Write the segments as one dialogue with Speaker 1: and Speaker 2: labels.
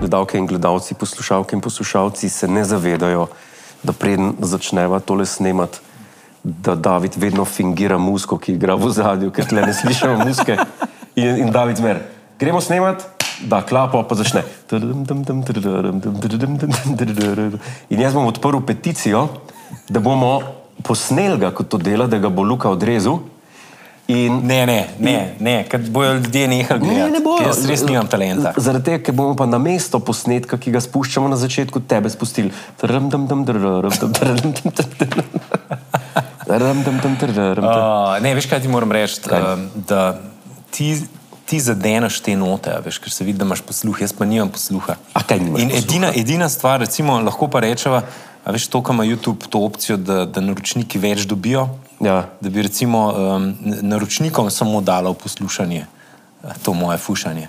Speaker 1: Gledalke in gledalci, poslušalke in poslušalci se ne zavedajo, da preden začneva tole snemati, da David vedno fingira muziko, ki igra v zadju, ker tle ne slišimo muzike. In, in David zmer, gremo snemati, da klapo pa začne. In jaz bom odprl peticijo, da bomo posneli ga, kot to dela, da ga bo Luka odrezal. In
Speaker 2: Ne, ne, ne, ne, ker bojo ljudje nehali gledati.
Speaker 1: Ne, ne bojo.
Speaker 2: Ker Jaz res nimam talenta.
Speaker 1: Zaradi tega, ker bomo pa na mesto posnetka, ki ga spuščamo na začetku, tebe spustili. Trdum, dum, dum, trdum, dum, trdum, dum, trdum. Trdum, dum, dum, trdum, dum.
Speaker 2: Uh, ne, veš, kaj ti moram reči, um, da ti, ti zadeneš te note, a veš, ker se vidi, da imaš posluh, jaz pa nimam posluha.
Speaker 1: A kaj nimaš
Speaker 2: In
Speaker 1: posluha?
Speaker 2: edina, edina stvar, recimo, lahko pa rečeva, a veš, to, kar ima YouTube to opcijo, da, da naročniki več dobijo,
Speaker 1: Ja.
Speaker 2: da bi recimo um, n- naročnikom samo dala v poslušanje eh, to moje fušanje.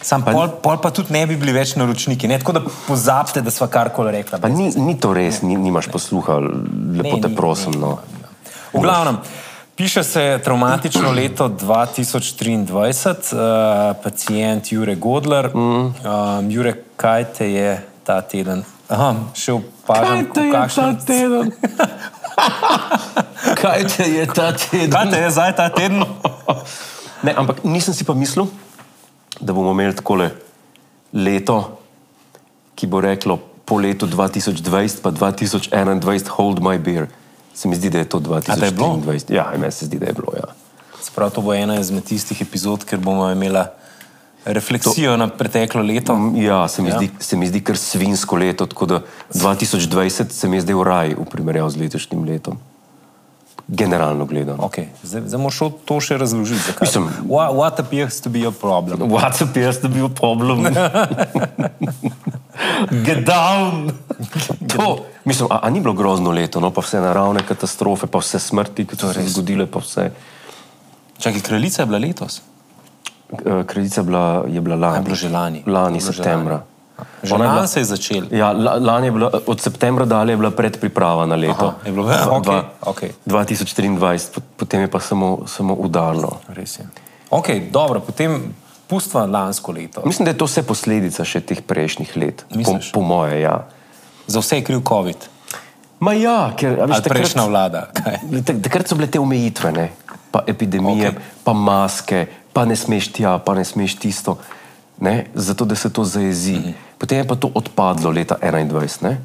Speaker 2: Sam pa, pol, pol pa tudi ne bi bili več naročniki, ne? tako da pozabite, da sva karkoli rekla.
Speaker 1: Pa ni, ni to res, ni, nimaš posluha, lepo
Speaker 2: Ne,
Speaker 1: te
Speaker 2: ni,
Speaker 1: prosim.
Speaker 2: ne,
Speaker 1: No.
Speaker 2: V glavnem, piše se traumatično leto 2023, uh, pacijent Jure Godler. Mm. Um, Jure, kaj te je ta teden? Aha, še opažam, v kakšnem-
Speaker 1: teden? kaj te je ta
Speaker 2: Kaj
Speaker 1: teden?
Speaker 2: te je zdaj ta teden?
Speaker 1: Ne, ampak nisem si pa mislil, da bomo imeli takole leto, ki bo reklo po letu 2020, pa 2021, hold my beer. Se mi zdi, da je to
Speaker 2: A da je bilo?
Speaker 1: 2023. Ja, meni se zdi, da je bilo. Ja.
Speaker 2: Sprav, to bo ena izmed tistih epizod, ker bomo imela refleksijo to... na preteklo leto.
Speaker 1: Mm, Ja, se mi,
Speaker 2: Ja.
Speaker 1: ja. Zdi, se mi zdi kar svinsko leto, tako da 2020 se mi je zdaj v raj v primerjavi z letošnjim letom. Generalno gledano.
Speaker 2: Okay, zdaj, zdaj moraš to še razložiti. zakaj.
Speaker 1: Mislim-
Speaker 2: Wha- what appears to be a problem?
Speaker 1: WhatsApp je zdaj bil problem. Get down! To, mislim, a, a ni bilo grozno leto, no, pa vse naravne katastrofe, pa vse smrti, ki so se zgodile, pa vse.
Speaker 2: Čakaj, kraljica je bila letos.
Speaker 1: Eh, Kraljica bila, je bila lani.
Speaker 2: Je bilo že lani.
Speaker 1: Lani,
Speaker 2: Je bilo že
Speaker 1: septembra.
Speaker 2: Že
Speaker 1: Ona je bila-
Speaker 2: lani se je začel.
Speaker 1: Ja, la- lani je bila, od septembra dalje je bila predpriprava na leto.
Speaker 2: Aha, je bilo- ja,
Speaker 1: Dva-
Speaker 2: ok,
Speaker 1: dva-
Speaker 2: ok.
Speaker 1: 2023, pot- potem je pa samo, samo udarno.
Speaker 2: Res je. Ok, dobro, potem pustva lansko leto.
Speaker 1: Mislim, da je to vse posledica še teh prejšnjih let. Po,
Speaker 2: Misliš?
Speaker 1: po moje, ja.
Speaker 2: Za vse je kriv COVID,
Speaker 1: Ma ja, ker a veš,
Speaker 2: ali prejšnja vlada. Kaj?
Speaker 1: Tak- Takrat so bile te omejitve, ne? pa epidemije,
Speaker 2: Ok.
Speaker 1: okay. pa maske, pa ne smeš tja, pa ne smeš tisto, ne? zato da se to zajezi. Mm -hmm. Potem je pa to odpadlo leta 2021, ne?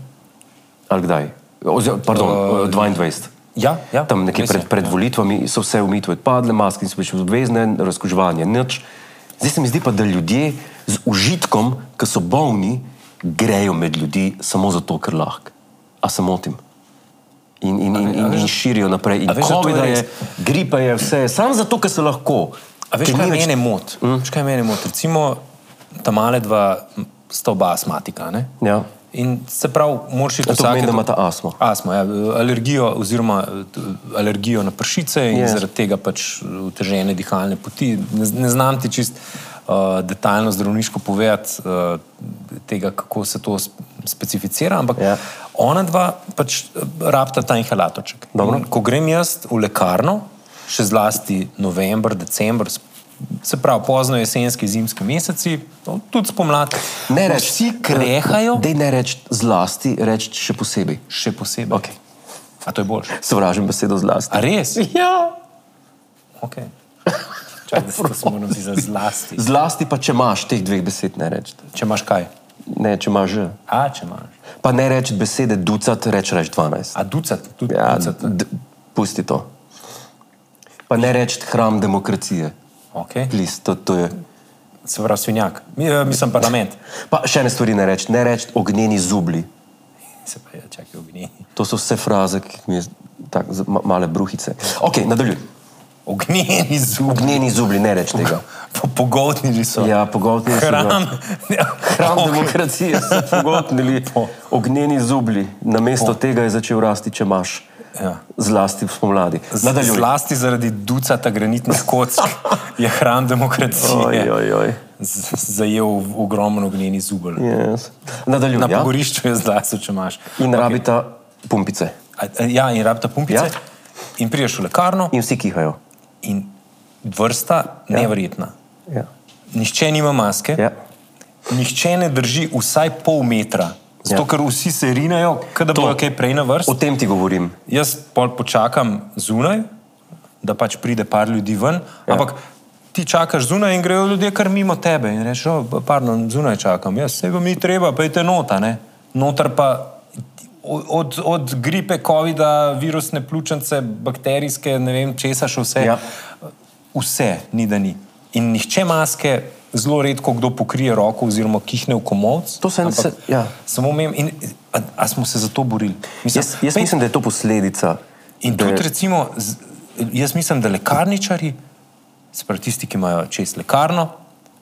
Speaker 1: ali kdaj? Oziroma, pardon, uh, 22.
Speaker 2: Ja, ja,
Speaker 1: Tam nekje
Speaker 2: res je,
Speaker 1: pred, pred
Speaker 2: ja.
Speaker 1: volitvami so vse omejitve odpadle, maske niso več obvezne, razkuževanje nič. Zdaj se mi zdi pa, da ljudje z užitkom, ki so bolni, grejo med ljudi samo zato, ker lahko. A se motim. In, in, in, in, in širijo naprej. In
Speaker 2: a veš, da to je
Speaker 1: COVID je,
Speaker 2: res?
Speaker 1: gripa je vse, samo zato, ker se lahko.
Speaker 2: A veš,
Speaker 1: Ker
Speaker 2: kaj
Speaker 1: ni več-
Speaker 2: mene moti? Mm. Kaj mene moti? Recimo, ta male dva sta oba astmatika. Ne?
Speaker 1: Ja.
Speaker 2: In se pravi, moraš iti
Speaker 1: Ja, to pomeni, da
Speaker 2: do-
Speaker 1: imata astmo.
Speaker 2: Astmo, ja, alergijo, oziroma eh, alergijo na pršice in
Speaker 1: Ja.
Speaker 2: yes. zaradi tega pač otežene dihalne poti. Ne, z- ne znam ti čist uh, detaljno zdravniško povedati uh, tega, kako se to sp- specificira, ampak
Speaker 1: Ja.
Speaker 2: yeah. ona dva pač eh, rabta ta inhalatorček.
Speaker 1: Dobro.
Speaker 2: In Ko grem jaz v lekarno, še zlasti november, december, s- se pravi pozno jesenski, zimski meseci, no, tudi spomladi,
Speaker 1: Ne reč,
Speaker 2: vsi krehajo,
Speaker 1: Dej ne reči zlasti, reči še posebej.
Speaker 2: še posebej.
Speaker 1: Okay.
Speaker 2: A to je boljše.
Speaker 1: Sovražim besedo zlasti.
Speaker 2: A res?
Speaker 1: Ja.
Speaker 2: Okay. Čakaj, da se to smo morali za zlasti.
Speaker 1: Zlasti pa, če imaš teh dveh besed, ne reči.
Speaker 2: Če imaš kaj?
Speaker 1: Ne, če imaš že.
Speaker 2: A, če imaš.
Speaker 1: Pa ne reči besede ducat, reči reč 12.
Speaker 2: A ducat, tudi ja,
Speaker 1: Ja,
Speaker 2: ducat.
Speaker 1: d- pusti to. Pa ne reči hram demokracije.
Speaker 2: Okay.
Speaker 1: Plis, to, to je.
Speaker 2: Se pravi, svinjak. Mi, eh, Mislim, parlament.
Speaker 1: Pa še ene stvari ne reči. Ne reči ognjeni zubli.
Speaker 2: Se pravi, ja, čakaj, ognjeni.
Speaker 1: To so vse fraze, ki mi je tako za ma- male bruhice. Ok, nadaljuj.
Speaker 2: Ognjeni zub.
Speaker 1: Ognjeni zubli, ne reči tega.
Speaker 2: Po, pogotnili so.
Speaker 1: Ja, pogotnili so ga.
Speaker 2: Hram.
Speaker 1: Hram okay. demokracije so pogotnili.
Speaker 2: Po.
Speaker 1: Ognjeni zubli. Namesto tega je začel rasti, če imaš.
Speaker 2: Ja.
Speaker 1: Zlasti spomladi.
Speaker 2: Z-
Speaker 1: Nadaljuj.
Speaker 2: Zlasti zaradi ducata granitnih kock je hram
Speaker 1: Oj,
Speaker 2: demokracije
Speaker 1: oj, oj.
Speaker 2: z- zajel ogromen ognjeni zubelj.
Speaker 1: Yes. Nadaljuj.
Speaker 2: Na
Speaker 1: ja?
Speaker 2: pogorišču je zlasti, če imaš.
Speaker 1: In okay. rabita pumpice.
Speaker 2: A- Ja, in rabita pumpice.
Speaker 1: Ja.
Speaker 2: Ja. In priješ v lekarno
Speaker 1: In vsi kihajo.
Speaker 2: in vrsta ja. neverjetna.
Speaker 1: Ja.
Speaker 2: Nihče nima maske,
Speaker 1: Ja.
Speaker 2: nihče ne drži vsaj pol metra, zato
Speaker 1: Ja.
Speaker 2: ja. ker vsi se rinajo, kada bojo kaj prej na vrst.
Speaker 1: O tem ti govorim.
Speaker 2: Jaz pol počakam zunaj, da pač pride par ljudi ven, ja. ampak ti čakaš zunaj in grejo ljudje kar mimo tebe in rečeš, "O, pardon, zunaj čakam, Ja, jaz se vam ni treba, pejte nota, ne. Notar pa o- od, od gripe, COVID-a, virusne pljučnice, bakterijske, ne vem česa še vse.
Speaker 1: Ja.
Speaker 2: Ja. Vse ni da ni. In nihče maske, zelo redko kdo pokrije roko oziroma kihne v komovc.
Speaker 1: To se-
Speaker 2: ampak
Speaker 1: se- ja.
Speaker 2: Samo omenim, in a, a smo se za to borili. Mislim,
Speaker 1: Jaz, jaz
Speaker 2: pej-
Speaker 1: mislim, da je to posledica.
Speaker 2: In
Speaker 1: da je-
Speaker 2: tudi, recimo, z- jaz mislim, da lekarničari, se pravi tisti, ki imajo čez lekarno,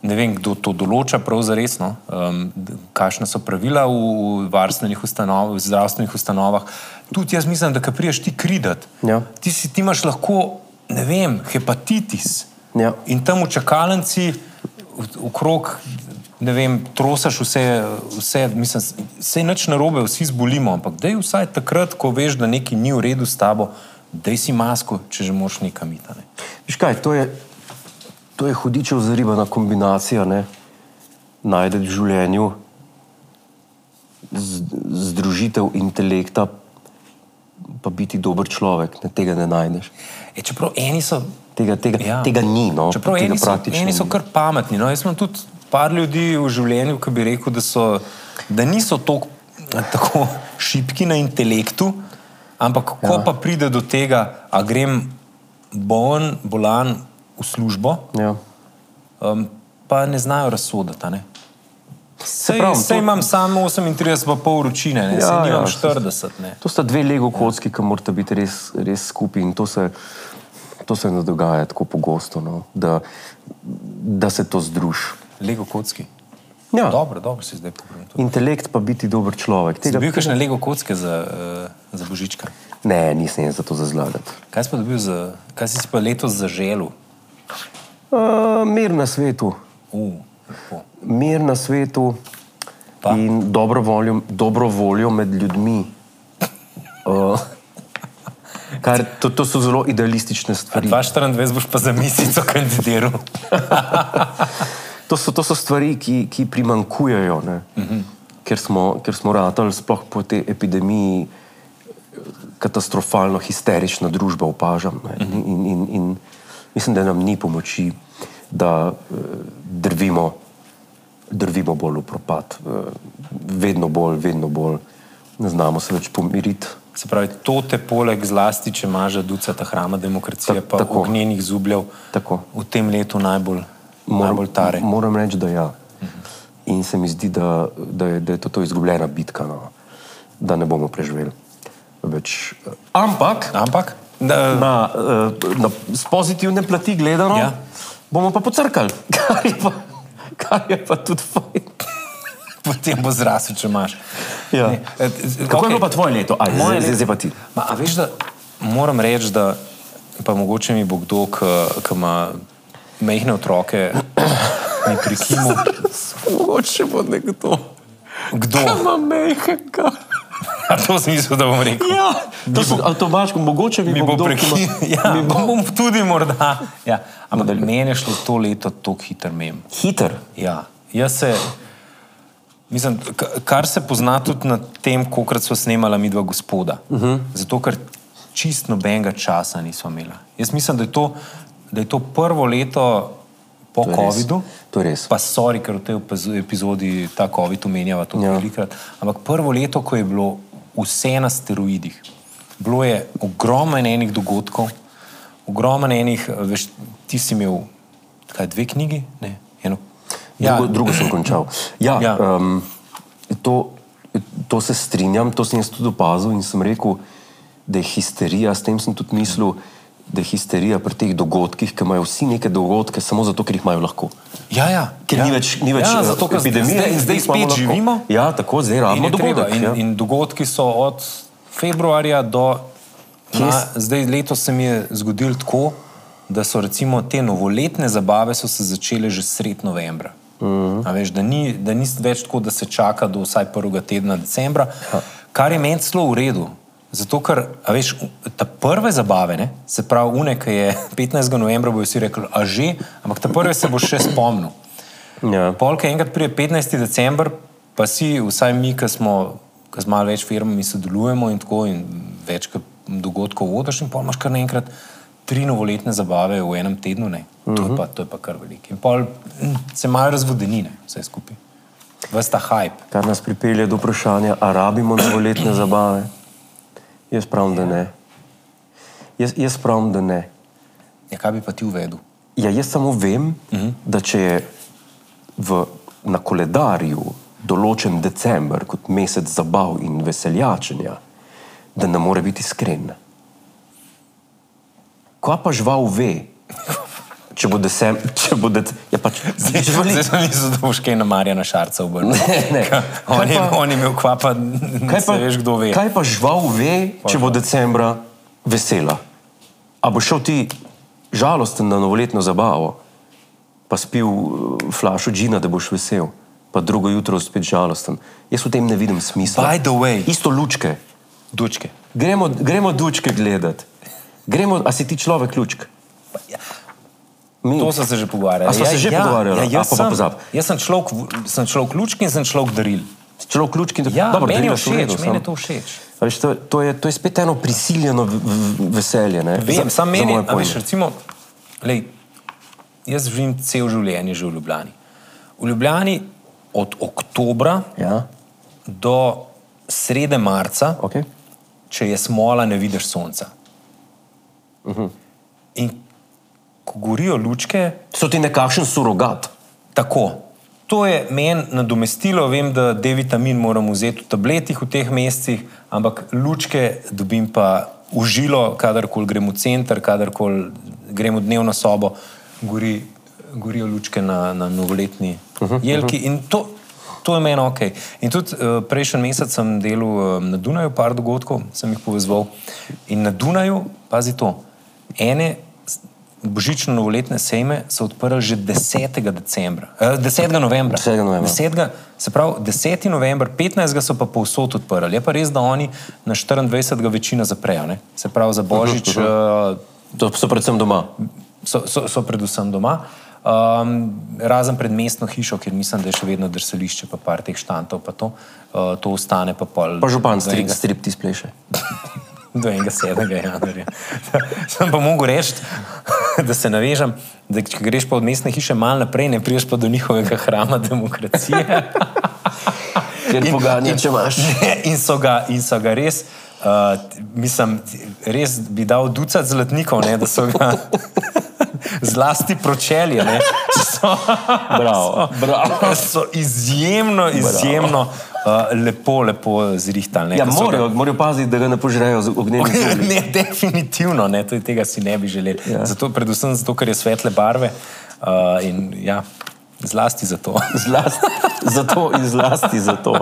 Speaker 2: ne vem, kdo to določa, prav za resno, um, kakšna so pravila v v varstvenih ustanovah, v zdravstvenih ustanovah. Tudi jaz mislim, da ko priješ ti kridat,
Speaker 1: Ja.
Speaker 2: ti, si, ti imaš lahko, ne vem, hepatitis.
Speaker 1: Ja.
Speaker 2: In tam v čakalnici, v- okrog, ne vem, trosaš vse, vse mislim, vse je nič narobe, vsi zbolimo, ampak dej vsaj takrat, ko veš, da nekaj ni v redu s tabo, dej si masko, če že moš nekam iti. a Ne.
Speaker 1: Veš kaj, to je, to je hudičev zaribana kombinacija, ne? najdete v življenju z, združitev intelekta, pa biti dober človek, ne, tega ne najdeš.
Speaker 2: E, čeprav eni so,
Speaker 1: Tega, tega, ja.
Speaker 2: Ja.
Speaker 1: tega ni, no,
Speaker 2: čeprav
Speaker 1: tega
Speaker 2: eni so,
Speaker 1: praktično
Speaker 2: eni so
Speaker 1: ni.
Speaker 2: kar pametni. No. Jaz imam tudi par ljudi v življenju, ki bi rekel, da, so, da niso tok, tako šipki na intelektu, ampak ko ja. pa pride do tega, a grem bolen, bolan v službo.
Speaker 1: Ja.
Speaker 2: um, pa ne znajo razsoditi. a Ne? Sej,
Speaker 1: pravim,
Speaker 2: pravim, sej
Speaker 1: to-
Speaker 2: to... imam samo 38, pa pol vročine, ne?
Speaker 1: Ja,
Speaker 2: ja, sej
Speaker 1: ja,
Speaker 2: nimam ja,
Speaker 1: saj-
Speaker 2: 40. Ne?
Speaker 1: To sta dve lego kocki, ki morata biti res, res skupaj in to se, to se ne dogaja tako pogosto, no, da, da se to združi.
Speaker 2: Lego kocki.
Speaker 1: Ja.
Speaker 2: Ja. Dobro, dobro si zdaj pogledam. to.
Speaker 1: Intelekt pa biti dober človek.
Speaker 2: Si
Speaker 1: Tega,
Speaker 2: dobil kakšne Lego kocke za, uh, za božička?
Speaker 1: ne, nisem jaz za to zazlagati.
Speaker 2: Kaj si pa dobil za, kaj si si pa letos zaželil?
Speaker 1: Uh, mir na svetu,
Speaker 2: Uh, lepo.
Speaker 1: mir na svetu pa.
Speaker 2: Pa?
Speaker 1: in dobro voljo, dobro voljo med ljudmi. Uh, kar, to, to so zelo idealistične
Speaker 2: A
Speaker 1: stvari.
Speaker 2: 2024 boš pa za misico kandidiral.
Speaker 1: To so, to so stvari, ki, ki primankujejo, uh -huh. ker, smo, ker smo ratali, sploh po tej epidemiji, katastrofalno histerična družba, opažam. ne. In, in, in, in mislim, da nam ni pomoči, da eh, drvimo, drvimo bolj v propad, eh, vedno bolj, vedno bolj. Ne znamo se več pomiriti.
Speaker 2: Se pravi, to te poleg zlasti, če imaš že duca ta hrama demokracije,
Speaker 1: Ta-
Speaker 2: pa
Speaker 1: tako.
Speaker 2: ognjenih zubljev,
Speaker 1: Tako.
Speaker 2: v tem letu najbolj, najbolj tare.
Speaker 1: moram reči, da ja. In se mi zdi, da, da, je, da je to, to izgubljena bitka, no. da ne bomo preživeli. Več. eh, Ampak
Speaker 2: Ampak, da,
Speaker 1: na, eh, na, z pozitivne plati gledano, ja.
Speaker 2: Ja.
Speaker 1: bomo pa pocrkali, kar je pa, kar je pa tudi fajn.
Speaker 2: potem bo zrasel, če imaš.
Speaker 1: Ja.
Speaker 2: Ne, e, e,
Speaker 1: Kako okay. je
Speaker 2: okej.
Speaker 1: bilo pa tvoje leto? Aj, zdaj,
Speaker 2: Moje
Speaker 1: zdaj,
Speaker 2: leto-
Speaker 1: zdaj pa ti.
Speaker 2: Ma, a veš, da moram reči, da pa mogoče mi bo kdo, ki- ki ima mehne otroke, mi prikimal.
Speaker 1: Mogoče bo nekdo,
Speaker 2: Kdo?
Speaker 1: mehka.
Speaker 2: A to sem mislil, da bom rekel.
Speaker 1: Ja, to sem avtomatsko, mogoče mi,
Speaker 2: Mi
Speaker 1: bo
Speaker 2: bo
Speaker 1: kdo, ki ima-
Speaker 2: prekinil. Ja,
Speaker 1: mi
Speaker 2: mi
Speaker 1: bo
Speaker 2: bom tudi morda. Ja. Ampak meni je šlo to leto tako hitro mem.
Speaker 1: hiter.
Speaker 2: Ja, jaz se. Mislim, k- kar se pozna tudi na tem, koliko smo snemali mi dva gospoda. Uh
Speaker 1: Mhm.
Speaker 2: -huh. Zato, ker čist nobenega časa nismo imeli. Jaz mislim, da je to, da je to prvo leto po
Speaker 1: je res.
Speaker 2: COVID-u.
Speaker 1: To je res.
Speaker 2: Pa sorry, ker v tej opazo- epizodi ta COVID omenjava to
Speaker 1: Ja.
Speaker 2: ja. velikrat. Ampak prvo leto, ko je bilo vse na steroidih, bilo je ogromno enih dogodkov, ogromno enih, veš, ti si imel kaj, dve knjigi, ne, eno.
Speaker 1: Drugo, ja. drugo sem končal. Ja, ja.
Speaker 2: Ja.
Speaker 1: Um, to, to se strinjam, to sem jaz tudi opazil in sem rekel, da je histerija, s tem sem tudi mislil, da je histerija pri teh dogodkih, ki imajo vsi neke dogodke samo zato, ker jih imajo lahko.
Speaker 2: Ja, ja.
Speaker 1: Ker
Speaker 2: ja.
Speaker 1: ja. ni več, ni več
Speaker 2: ja,
Speaker 1: eh,
Speaker 2: zato, ker
Speaker 1: epidemije
Speaker 2: zdaj,
Speaker 1: in
Speaker 2: zdaj
Speaker 1: jih imamo
Speaker 2: spet
Speaker 1: lahko.
Speaker 2: živimo.
Speaker 1: Ja, tako, zdaj
Speaker 2: In,
Speaker 1: rabimo
Speaker 2: je treba.
Speaker 1: dogodek.
Speaker 2: in,
Speaker 1: ja.
Speaker 2: in dogodki so od februarja do. Na,
Speaker 1: Kje
Speaker 2: zdaj, leto se mi je zgodilo tako, da so recimo te novoletne zabave so se začele že sred novembra. Uh
Speaker 1: Mhm.
Speaker 2: -huh. veš, da, ni, da
Speaker 1: Ja.
Speaker 2: ni več tako, da se čaka do vsaj prvega tedna decembra, kar je meni celo v redu. Zato, ker a veš, te prve zabave, ne, se pravi, une, ki je 15. novembra, bojo vsi rekli, a že, ampak te prve se bo še spomnil.
Speaker 1: Ja.
Speaker 2: Polka enkrat prije 15. december, pa si, vsaj mi, ki smo ki z malo več firmami sodelujemo in tako, in več kot dogodkov vodiš, in pa imaš kar naenkrat tri novoletne zabave v enem tednu. Ne. To,
Speaker 1: Mhm.
Speaker 2: je pa, to je pa kar veliko. In pol mm, se malo razvodenine, vse skupaj. Ves ta hype.
Speaker 1: Kar nas pripelje do vprašanja, ali rabimo novoletne zabave? Jaz pravim, da ne. Jaz, jaz pravim, da ne.
Speaker 2: Ja, kaj bi pa ti uvedel?
Speaker 1: Ja, jaz samo vem, uh
Speaker 2: Mhm.
Speaker 1: -huh. da če je v, na koledarju določen december kot mesec zabav in veseljačenja, da ne more biti iskren. Kaj pa žival ve, če bo december, če bo december, ja pač živali.
Speaker 2: Zdaj sem jaz zadovoljške na Marjana Šarca obrnil.
Speaker 1: Ne, ne.
Speaker 2: Ka- On,
Speaker 1: Kaj
Speaker 2: je-
Speaker 1: pa-
Speaker 2: on je imel kvapa, ne pa, veš, kdo ve.
Speaker 1: Kaj pa žival ve, če bo decembra vesela? A bo šel ti žalosten na novoletno zabavo, pa spil eh, flašo džina, da boš vesel, pa drugo jutro spet žalosten. Jaz v tem ne vidim smisla.
Speaker 2: By the way,
Speaker 1: Isto lučke.
Speaker 2: dučke.
Speaker 1: Gremo, gremo dučke gledati. Gremo, a si ti človek lučk? Mi,
Speaker 2: To so se že pogovarjali.
Speaker 1: A sva se že pogovarjala?
Speaker 2: Ja, jaz,
Speaker 1: A, pa- pa
Speaker 2: sem,
Speaker 1: pozabi.
Speaker 2: jaz sem človek, v- sem človek lučk in sem človek daril.
Speaker 1: človek lučk in tako
Speaker 2: Ja,
Speaker 1: Dobro,
Speaker 2: meni je
Speaker 1: darila so v redu,
Speaker 2: všeč, meni je
Speaker 1: samo-
Speaker 2: to všeč.
Speaker 1: A Veš, to, to, je, to je spet eno prisiljeno v- v- veselje. ne?
Speaker 2: Vem,
Speaker 1: Za-
Speaker 2: sam
Speaker 1: za
Speaker 2: meni,
Speaker 1: moje
Speaker 2: a
Speaker 1: pojme.
Speaker 2: veš, recimo, lej, jaz živim cel življenje že v Ljubljani. V Ljubljani od oktobra
Speaker 1: Ja,
Speaker 2: do srede marca
Speaker 1: okay.
Speaker 2: če je smola, ne vidiš sonca. Uh -huh.
Speaker 1: Mhm.
Speaker 2: In ko gorijo lučke,
Speaker 1: So ti nekakšen surogat.
Speaker 2: tako. To je meni nadomestilo, vem, da D-vitamin moram vzeti v tabletih v teh mesecih, ampak lučke dobim pa užilo, kadarkoli grem v center, kadarkoli grem v dnevno sobo, gori, gorijo lučke na, na novoletni uh -huh, jelki. Uh -huh. In to, to je meni ok. In tudi uh, prejšnji mesec sem delal uh, na Dunaju, par dogodkov sem jih povezal. In na Dunaju, pazi to, ene božično-novoletne sejme so odprli že 10. decembra, eh, 10. novembra.
Speaker 1: 10. novembra.
Speaker 2: 10. Se pravi, 10. november, 15. so pa povsod odprli. Je pa res, da oni na 24. večino zaprejo. Ne? Se pravi, za božič uh -huh. uh,
Speaker 1: To so predvsem doma.
Speaker 2: so, so, so predvsem doma. Um, razen pred mestno hišo, ker mislim, da je še vedno drsališče, pa par teh štantov, pa to, uh, to ostane pa pol.
Speaker 1: Pa župan
Speaker 2: do
Speaker 1: strip,
Speaker 2: enega-
Speaker 1: strip ti spleše.
Speaker 2: Do enega 7. januarja. Sem pa mogel reči, da se navežem, da če greš pa od mestne hiše malo naprej, ne priješ pa do njihovega hrama demokracije.
Speaker 1: Ker
Speaker 2: In-
Speaker 1: poganja,
Speaker 2: in-
Speaker 1: če imaš.
Speaker 2: Ne, in, so ga, in so ga res, uh, mislim, res bi dal ducat zlatnikov, ne, da so ga zlasti pročelje. Ne, so,
Speaker 1: Bravo, bravo.
Speaker 2: so izjemno, izjemno uh, lepo, lepo zrihtali. ne,
Speaker 1: Ja,
Speaker 2: da so ga-
Speaker 1: morajo, morajo paziti, da ga ne požrejo z ognjenim žogi.
Speaker 2: Ne, definitivno ne, tudi tega si ne bi želeli. Ja. Zato, predvsem zato, ker je svetle barve uh, in ja, zlasti zato.
Speaker 1: Zlasti, zato in zlasti zato.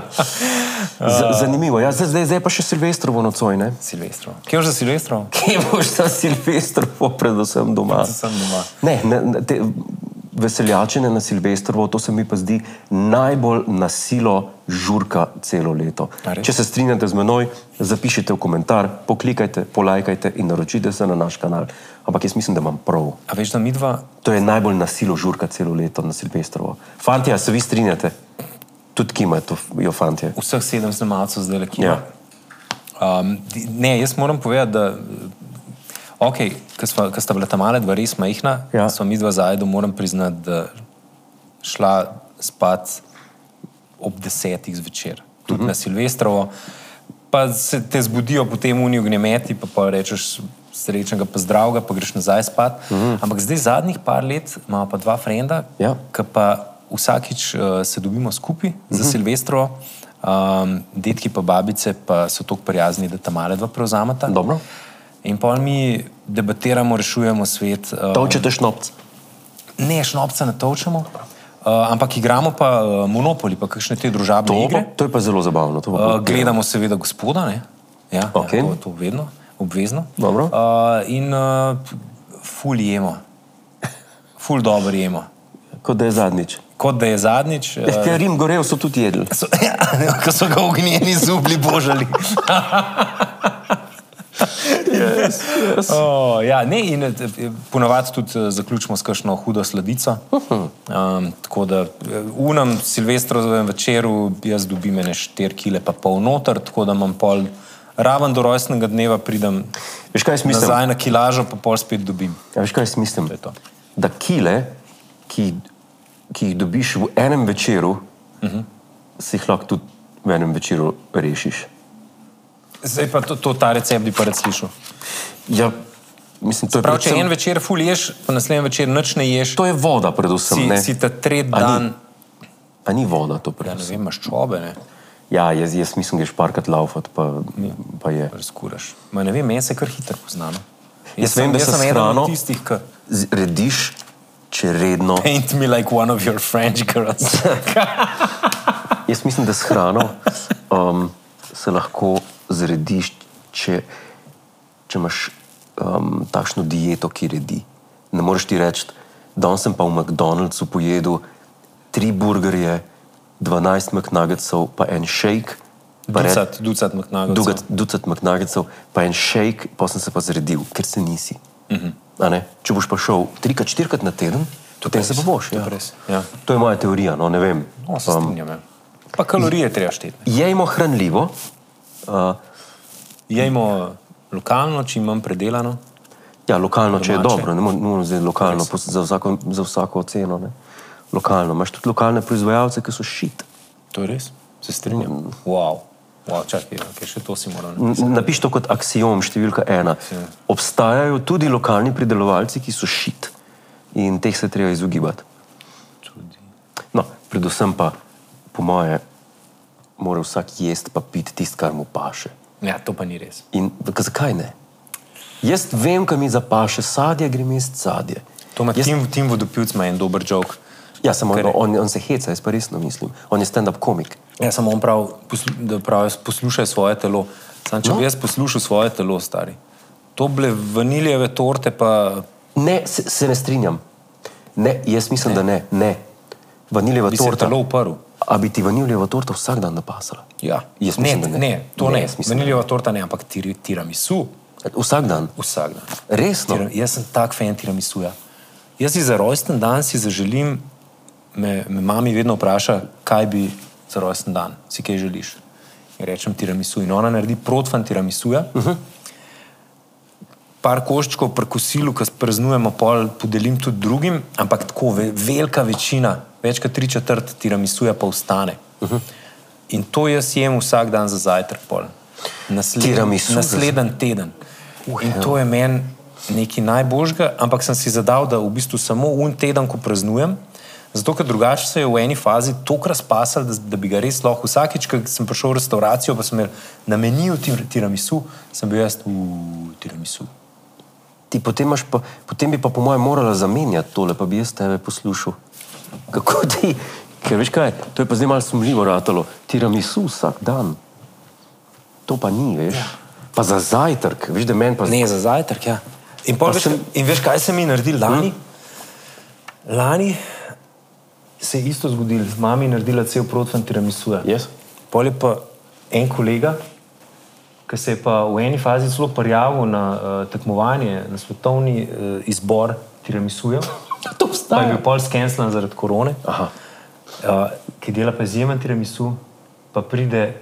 Speaker 1: Z, zanimivo. Ja, zdaj, zdaj, zdaj pa še Silvestrovo nocoj, ne?
Speaker 2: Silvestro. Kje boš za Silvestro?
Speaker 1: Kje boš za Silvestrovo predvsem doma?
Speaker 2: Sem doma.
Speaker 1: Ne, ne, ne te veseljačine na Silvestrovo, to se mi pa zdi najbolj nasilo žurka celo leto.
Speaker 2: A res?
Speaker 1: Če se strinjate z menoj, zapišite v komentar, poklikajte, polajkajte in naročite se na naš kanal. Ampak jaz mislim, da imam prav.
Speaker 2: A veš, da mi dva,
Speaker 1: To je najbolj nasilo žurka celo leto na Silvestrovo. Fantje, a se vi strinjate? Tudi kima to, jo fantje.
Speaker 2: vseh sedem snemalcev zdaj le kje.
Speaker 1: Ja.
Speaker 2: Um, di- ne, jaz moram povedati, da ok, ker sta bila ta mala dva res majhna,
Speaker 1: Ja.
Speaker 2: ja. smo mi dva zajdu, moram priznati, da šla spat ob desetih zvečer, tudi
Speaker 1: Mhm.
Speaker 2: uh -huh. na Silvestrovo. Pa se te zbudijo potem unijo gnjemeti, pa, pa rečeš srečnega, pa zdravega, pa greš nazaj spat. Uh -huh. Ampak zdaj zadnjih par let imamo pa dva frenda,
Speaker 1: Mhm. Ja.
Speaker 2: ki pa vsakič uh, se dobimo skupaj za
Speaker 1: Mhm.
Speaker 2: Silvestro. Um, detki pa babice pa so tako prijazni, da tam male dva prevzameta.
Speaker 1: Dobro.
Speaker 2: In pa mi debatiramo, rešujemo svet. Um,
Speaker 1: Točete šnopc.
Speaker 2: ne, šnopca ne točemo, uh, ampak igramo pa uh, monopoli, pa kakšne te družabne
Speaker 1: To,
Speaker 2: igre.
Speaker 1: pa- to je pa zelo zabavno. to pa
Speaker 2: Uh,
Speaker 1: pa-
Speaker 2: gledamo seveda gospoda, ne? Ja,
Speaker 1: Okej.
Speaker 2: ja, to, to vedno, obvezno.
Speaker 1: Dobro.
Speaker 2: Uh, in uh, ful jemo, ful dobro jemo.
Speaker 1: Kot da je zadnjič.
Speaker 2: Kot da je zadnjič, eh,
Speaker 1: Ker Rim Gorev so tudi jedli.
Speaker 2: so, ja, ko so ga ognjeni zubi božali. O, ja, ne, in eh, ponavadi tudi eh, zaključimo s kakšno hudo sladico. Um, tako da eh, v unem silvestrovem večeru jaz dobim ene 4 kile pa pol noter, tako da imam pol raven do rojstnega dneva, pridem
Speaker 1: Veš kaj jaz mislim?
Speaker 2: nazaj na kilažo, pa pol spet dobim.
Speaker 1: A Ja, veš kaj jaz mislim?
Speaker 2: To je to.
Speaker 1: Da kile, ki, ki jih dobiš v enem večeru, uh
Speaker 2: Mhm.
Speaker 1: -huh. si jih lahko tudi v enem večeru rešiš.
Speaker 2: Zdaj pa to, to ta recept bi pa rad slišal.
Speaker 1: Ja, mislim, to je
Speaker 2: Prav, če
Speaker 1: predvsem-
Speaker 2: en večer ful ješ, pa naslednji večer nič ne ješ,
Speaker 1: To je voda, predvsem.
Speaker 2: si,
Speaker 1: ne?
Speaker 2: si ta tret
Speaker 1: A ni?
Speaker 2: dan,
Speaker 1: A ni voda to
Speaker 2: ja, ne
Speaker 1: predvsem?
Speaker 2: vem, maščobe, ne,
Speaker 1: Ja, jaz, jaz mislim, da je šparkat laufat, pa, pa je.
Speaker 2: razkuraš. Ma ne vem, jaz se kar hitro poznam.
Speaker 1: Jaz vem,
Speaker 2: sem-
Speaker 1: da
Speaker 2: jaz
Speaker 1: se
Speaker 2: sem
Speaker 1: s
Speaker 2: eden
Speaker 1: hrano-
Speaker 2: od tistih, ki
Speaker 1: Z- Rediš, če redno.
Speaker 2: paint me like one of your French girls.
Speaker 1: Jaz mislim, da s hrano um, se lahko zrediš, če, če imaš um, takšno dieto, ki redi. Ne moreš ti reči, da sem pa v McDonald'su pojedel tri burgerje, 12 McNuggetsov, pa en shake. pa re-
Speaker 2: ducat, ducat McNagel.
Speaker 1: Ducat, ducat McNuggetsov, pa en shake, pa sem se pa zredil, ker se nisi. Uh -huh. Če boš pa šel trikrat, štirikrat na teden, potem se pa boš.
Speaker 2: Mhm. to
Speaker 1: Ja.
Speaker 2: pa res, ja.
Speaker 1: To je moja teorija, no ne vem.
Speaker 2: No, se strinjam. ja. Pa kalorije treba šteti.
Speaker 1: Jejmo hranljivo, uh,
Speaker 2: Jejmo lokalno, čim manj predelano.
Speaker 1: ja, lokalno, če je
Speaker 2: Domače.
Speaker 1: dobro, ne mo- ne moremo zdaj lokalno pos- za vsako, za vsako ceno. Ne? Lokalno. Imaš tudi lokalne proizvajalce, ki so šit.
Speaker 2: To je res, se strinjam. Wow. Wow, čakaj, okay, še to si moral. napisati.
Speaker 1: N- Napiš to kot aksijom, številka ena. Obstajajo tudi lokalni pridelovalci, ki so šit in teh se je treba izogibati.
Speaker 2: Tudi.
Speaker 1: No, predvsem pa, po moje, mora vsak jesti pa piti tisto, kar mu paše.
Speaker 2: Ja, to pa ni res.
Speaker 1: In k- zakaj ne? Jaz vem, kam mi zapaše sadje, grem jaz sadje.
Speaker 2: To ima
Speaker 1: Jaz-
Speaker 2: Tim, Tim Vodopilc, ima en dober jok.
Speaker 1: Ja, samo
Speaker 2: Kar
Speaker 1: no,
Speaker 2: je.
Speaker 1: on, on se heca, jaz pa resno mislim. On je stand-up komik.
Speaker 2: Ja, samo on prav, poslu, da pravi, poslušaj svoje telo. Sam, če no.
Speaker 1: No.
Speaker 2: bi jaz poslušal svoje telo, stari. To bile vanilijeve torte, pa
Speaker 1: Ne, se, se ne strinjam. Ne, jaz mislim, ne. da ne. ne. Vaniljeva
Speaker 2: bi se
Speaker 1: torta.
Speaker 2: telo uprl.
Speaker 1: A bi ti vaniljeva torta vsak dan napasala?
Speaker 2: Ja.
Speaker 1: Jaz
Speaker 2: ne,
Speaker 1: mislim, da ne.
Speaker 2: ne, to
Speaker 1: Ne,
Speaker 2: ne. ne.
Speaker 1: jaz mislim, da
Speaker 2: Vanilijeva torta ne, ampak tir, tiramisu
Speaker 1: Vsak dan.
Speaker 2: vsak dan.
Speaker 1: Resno.
Speaker 2: Tiram, jaz sem tak fan tiramisuja. Jaz si za rojsten dan si zaželim, me, me mami vedno vpraša, kaj bi za rojsten dan, si kaj želiš. In rečem tiramisu. In ona naredi protfan tiramisuja. Uh -huh. Par koščkov pri kosilu, ki praznujemo, pol podelim tudi drugim, ampak tako ve, velika večina, več kot tri četrt tiramisuja pa ostane. Uh -huh. In to jaz jem vsak dan za zajtrk, pol.
Speaker 1: Tiramisu za
Speaker 2: naslednji naslednji teden. In to je meni nekaj najboljžga, ampak sem si zadal, da v bistvu samo un teden, ko praznujem, zato ker drugače se je v eni fazi toliko razpasal, da, da bi ga res lahko vsakič, ko sem prišel v restauracijo, pa sem imel na meniju tir, tiramisu, sem bil jaz v tiramisu.
Speaker 1: Ti potem, imaš pa, potem bi pa, po mojem, morala zamenjati tole, pa bi jaz tebe poslušal. Kako ti? Ker veš kaj, to je pa zdaj malo sumljivo ratalo. Tiramisu vsak dan. To pa ni, veš. Ja. Pa za zajtrk, veš, da meni pa
Speaker 2: Ne, za zajtrk, ja. In, pol,
Speaker 1: Pa
Speaker 2: veš,
Speaker 1: sem- Hm?
Speaker 2: in veš, kaj se mi je naredil lani? Lani se je isto zgodilo, z mami je naredila cel protvan tiramisuja.
Speaker 1: Jaz?
Speaker 2: Pol je pa en kolega, ki se je pa v eni fazi celo prijavil na uh, tekmovanje, na svetovni uh, izbor tiramisuja,
Speaker 1: To
Speaker 2: pa je
Speaker 1: obstaja.
Speaker 2: bil pol skenslan zaradi korone,
Speaker 1: Aha.
Speaker 2: uh, ki dela pa izjemen tiramisu, pa pride,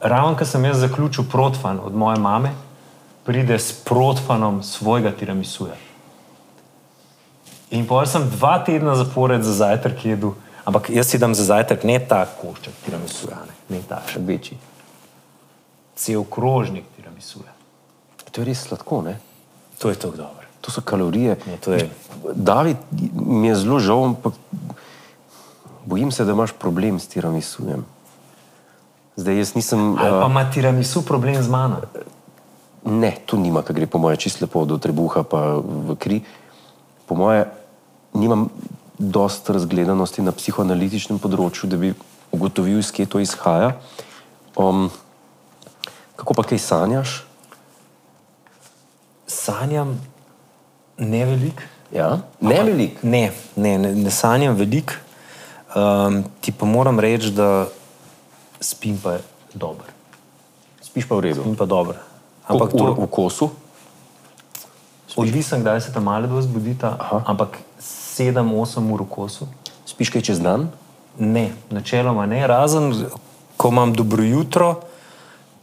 Speaker 2: ravno ko sem jaz zaključil protfan od moje mame, pride s protfanom svojega tiramisuja. In pol sem dva tedna zapored za zajtrk jedel, ampak jaz si dam za zajtrk ne ta košček tiramisuja, ne, ne ta še večji. Cel krožnik tiramisuja.
Speaker 1: To je res sladko, ne?
Speaker 2: To je tako dobro.
Speaker 1: To so kalorije.
Speaker 2: Ne, to je-
Speaker 1: David, mi je zelo žal, ampak bojim se, da imaš problem s tiramisujem. Zdaj, jaz nisem.
Speaker 2: Ali
Speaker 1: a,
Speaker 2: pa ima tiramisu problem z mano?
Speaker 1: Ne, tu nima, ki gre po moje čisto lepo do trebuha, pa v kri. Po moje, nimam dosta razgledanosti na psihoanalitičnem področju, da bi ugotovil, iz kje to izhaja. Um, kako pa kaj sanjaš?
Speaker 2: Sanjam ne veliko.
Speaker 1: Ja? Ne veliko.
Speaker 2: Ne, ne, ne, ne sanjam veliko. Um, ti pa moram reči, da spim pa dobro.
Speaker 1: Spiš pa v redu.
Speaker 2: Spim pa dobro.
Speaker 1: Ampak
Speaker 2: Ampak to,
Speaker 1: v kosu,
Speaker 2: Odvisen, kdaj se tam male dva zbudita, Aha. ampak 7-8 ur v kosu.
Speaker 1: Spiš kaj čez dan?
Speaker 2: Ne, načeloma ne, razen ko imam dobro jutro,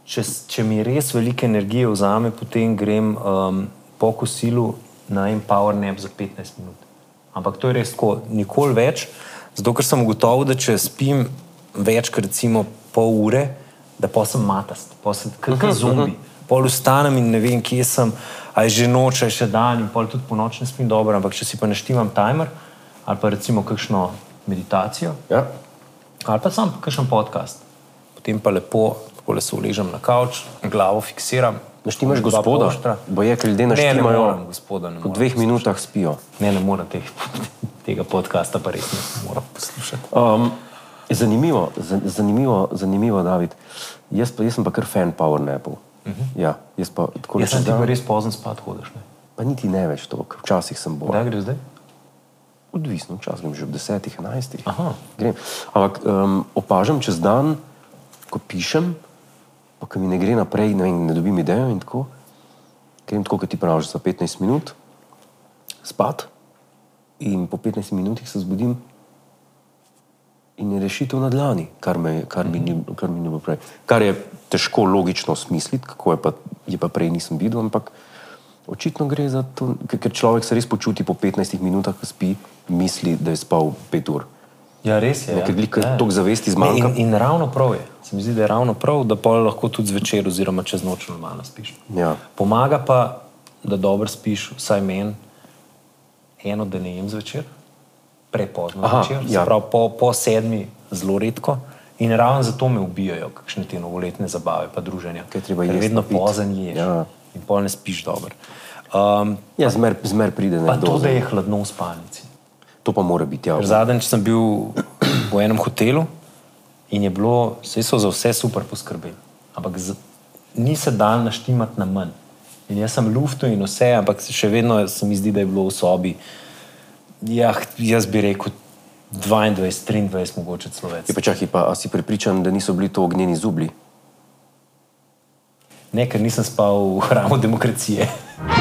Speaker 2: če, s- če mi res veliko energije vzame, potem grem um, po kosilu na en power nap za 15 minut. Ampak to je res tako, nikoli več, zato ker sem ugotovil, da če spim več kot recimo pol ure, da pa sem matast, pa sem kot zombi. Pol vstanem in ne vem, kje sem, aj že noč, aj še dan in pol tudi po noč ne spim dobro, ampak če si pa naštivam timer ali pa recimo kakšno meditacijo,
Speaker 1: Ja.
Speaker 2: ali pa sam kakšen podcast. Potem pa lepo, tako se uležem na kavč, glavo fiksiram.
Speaker 1: Naštimaš
Speaker 2: Dva polštra.
Speaker 1: gospoda, boje, ker ljudje
Speaker 2: Ne, ne morem,
Speaker 1: naštimajo,
Speaker 2: gospoda, ne
Speaker 1: po
Speaker 2: morem.
Speaker 1: dveh minutah spijo.
Speaker 2: Ne, ne morem teh, tega podcasta, pa res ne morem poslušati.
Speaker 1: Um, zanimivo, za- zanimivo, zanimivo, David. Jaz, pa, jaz sem pa kar fan Power Napov. Uh -huh. Ja, jaz pa tako
Speaker 2: Mhm. Jaz sem ti
Speaker 1: da-
Speaker 2: pa res pozno spat hodiš. Ne?
Speaker 1: Pa niti ne več toliko, včasih sem bolj.
Speaker 2: Kdaj greš zdaj?
Speaker 1: Odvisno, včasih grem že ob 10, 11.
Speaker 2: Aha.
Speaker 1: Grem. Ampak um, opažam čez dan, ko pišem, pa ko mi ne gre naprej, ne, vem, ne dobim idejo in tako. Grem tako, kot ti praviš, za 15 minut spat in po 15 minutah se zbudim. In je rešitev na dlani, kar, me, kar, mi ni, kar mi ni bilo prej. Kar je težko logično smisliti, kako je pa, je pa prej nisem videl, ampak očitno gre za to, ker ker človek se res počuti po 15 minutah, ko spi, misli, da je spal 5 ur.
Speaker 2: Ja, res je.
Speaker 1: Ja, ker glika toliko zavesti
Speaker 2: Ne,
Speaker 1: zmanjka.
Speaker 2: in, in ravno prav je. Se mi zdi, da je ravno prav, da pol lahko tudi zvečer oziroma čez noč normalno spiš.
Speaker 1: Ja.
Speaker 2: Pomaga pa, da dobro spiš, vsaj meni, eno, da ne jem zvečer, prepozno
Speaker 1: Aha,
Speaker 2: zvečer,
Speaker 1: ja.
Speaker 2: ja. prav po, po sedmi zelo redko. In ravno zato me ubijajo kakšne te novoletne zabave, pa druženja.
Speaker 1: Ker je treba
Speaker 2: Ker
Speaker 1: jesti,
Speaker 2: vedno
Speaker 1: piti.
Speaker 2: pozen ješ
Speaker 1: Ja.
Speaker 2: in pol ne spiš dobro. Um,
Speaker 1: Ja, zmer, zmer pride
Speaker 2: pa
Speaker 1: nekdo.
Speaker 2: to, da
Speaker 1: za-
Speaker 2: je hladno v spalnici.
Speaker 1: to pa mora biti ja.
Speaker 2: Ker
Speaker 1: javno.
Speaker 2: Zadnjič sem bil v enem hotelu in je bilo, vse so za vse super poskrbeli, ampak z, ni se dal naštimati na manj. In jaz sem luftu in vse, ampak se še vedno se mi zdi, da je bilo v sobi. Jah, jaz bi rekel 22, 23, mogoče
Speaker 1: Je
Speaker 2: človek.
Speaker 1: pa čakaj, pa a si prepričan, da niso bili to ognjeni zubli?
Speaker 2: Ne, ker nisem spal v hramu demokracije.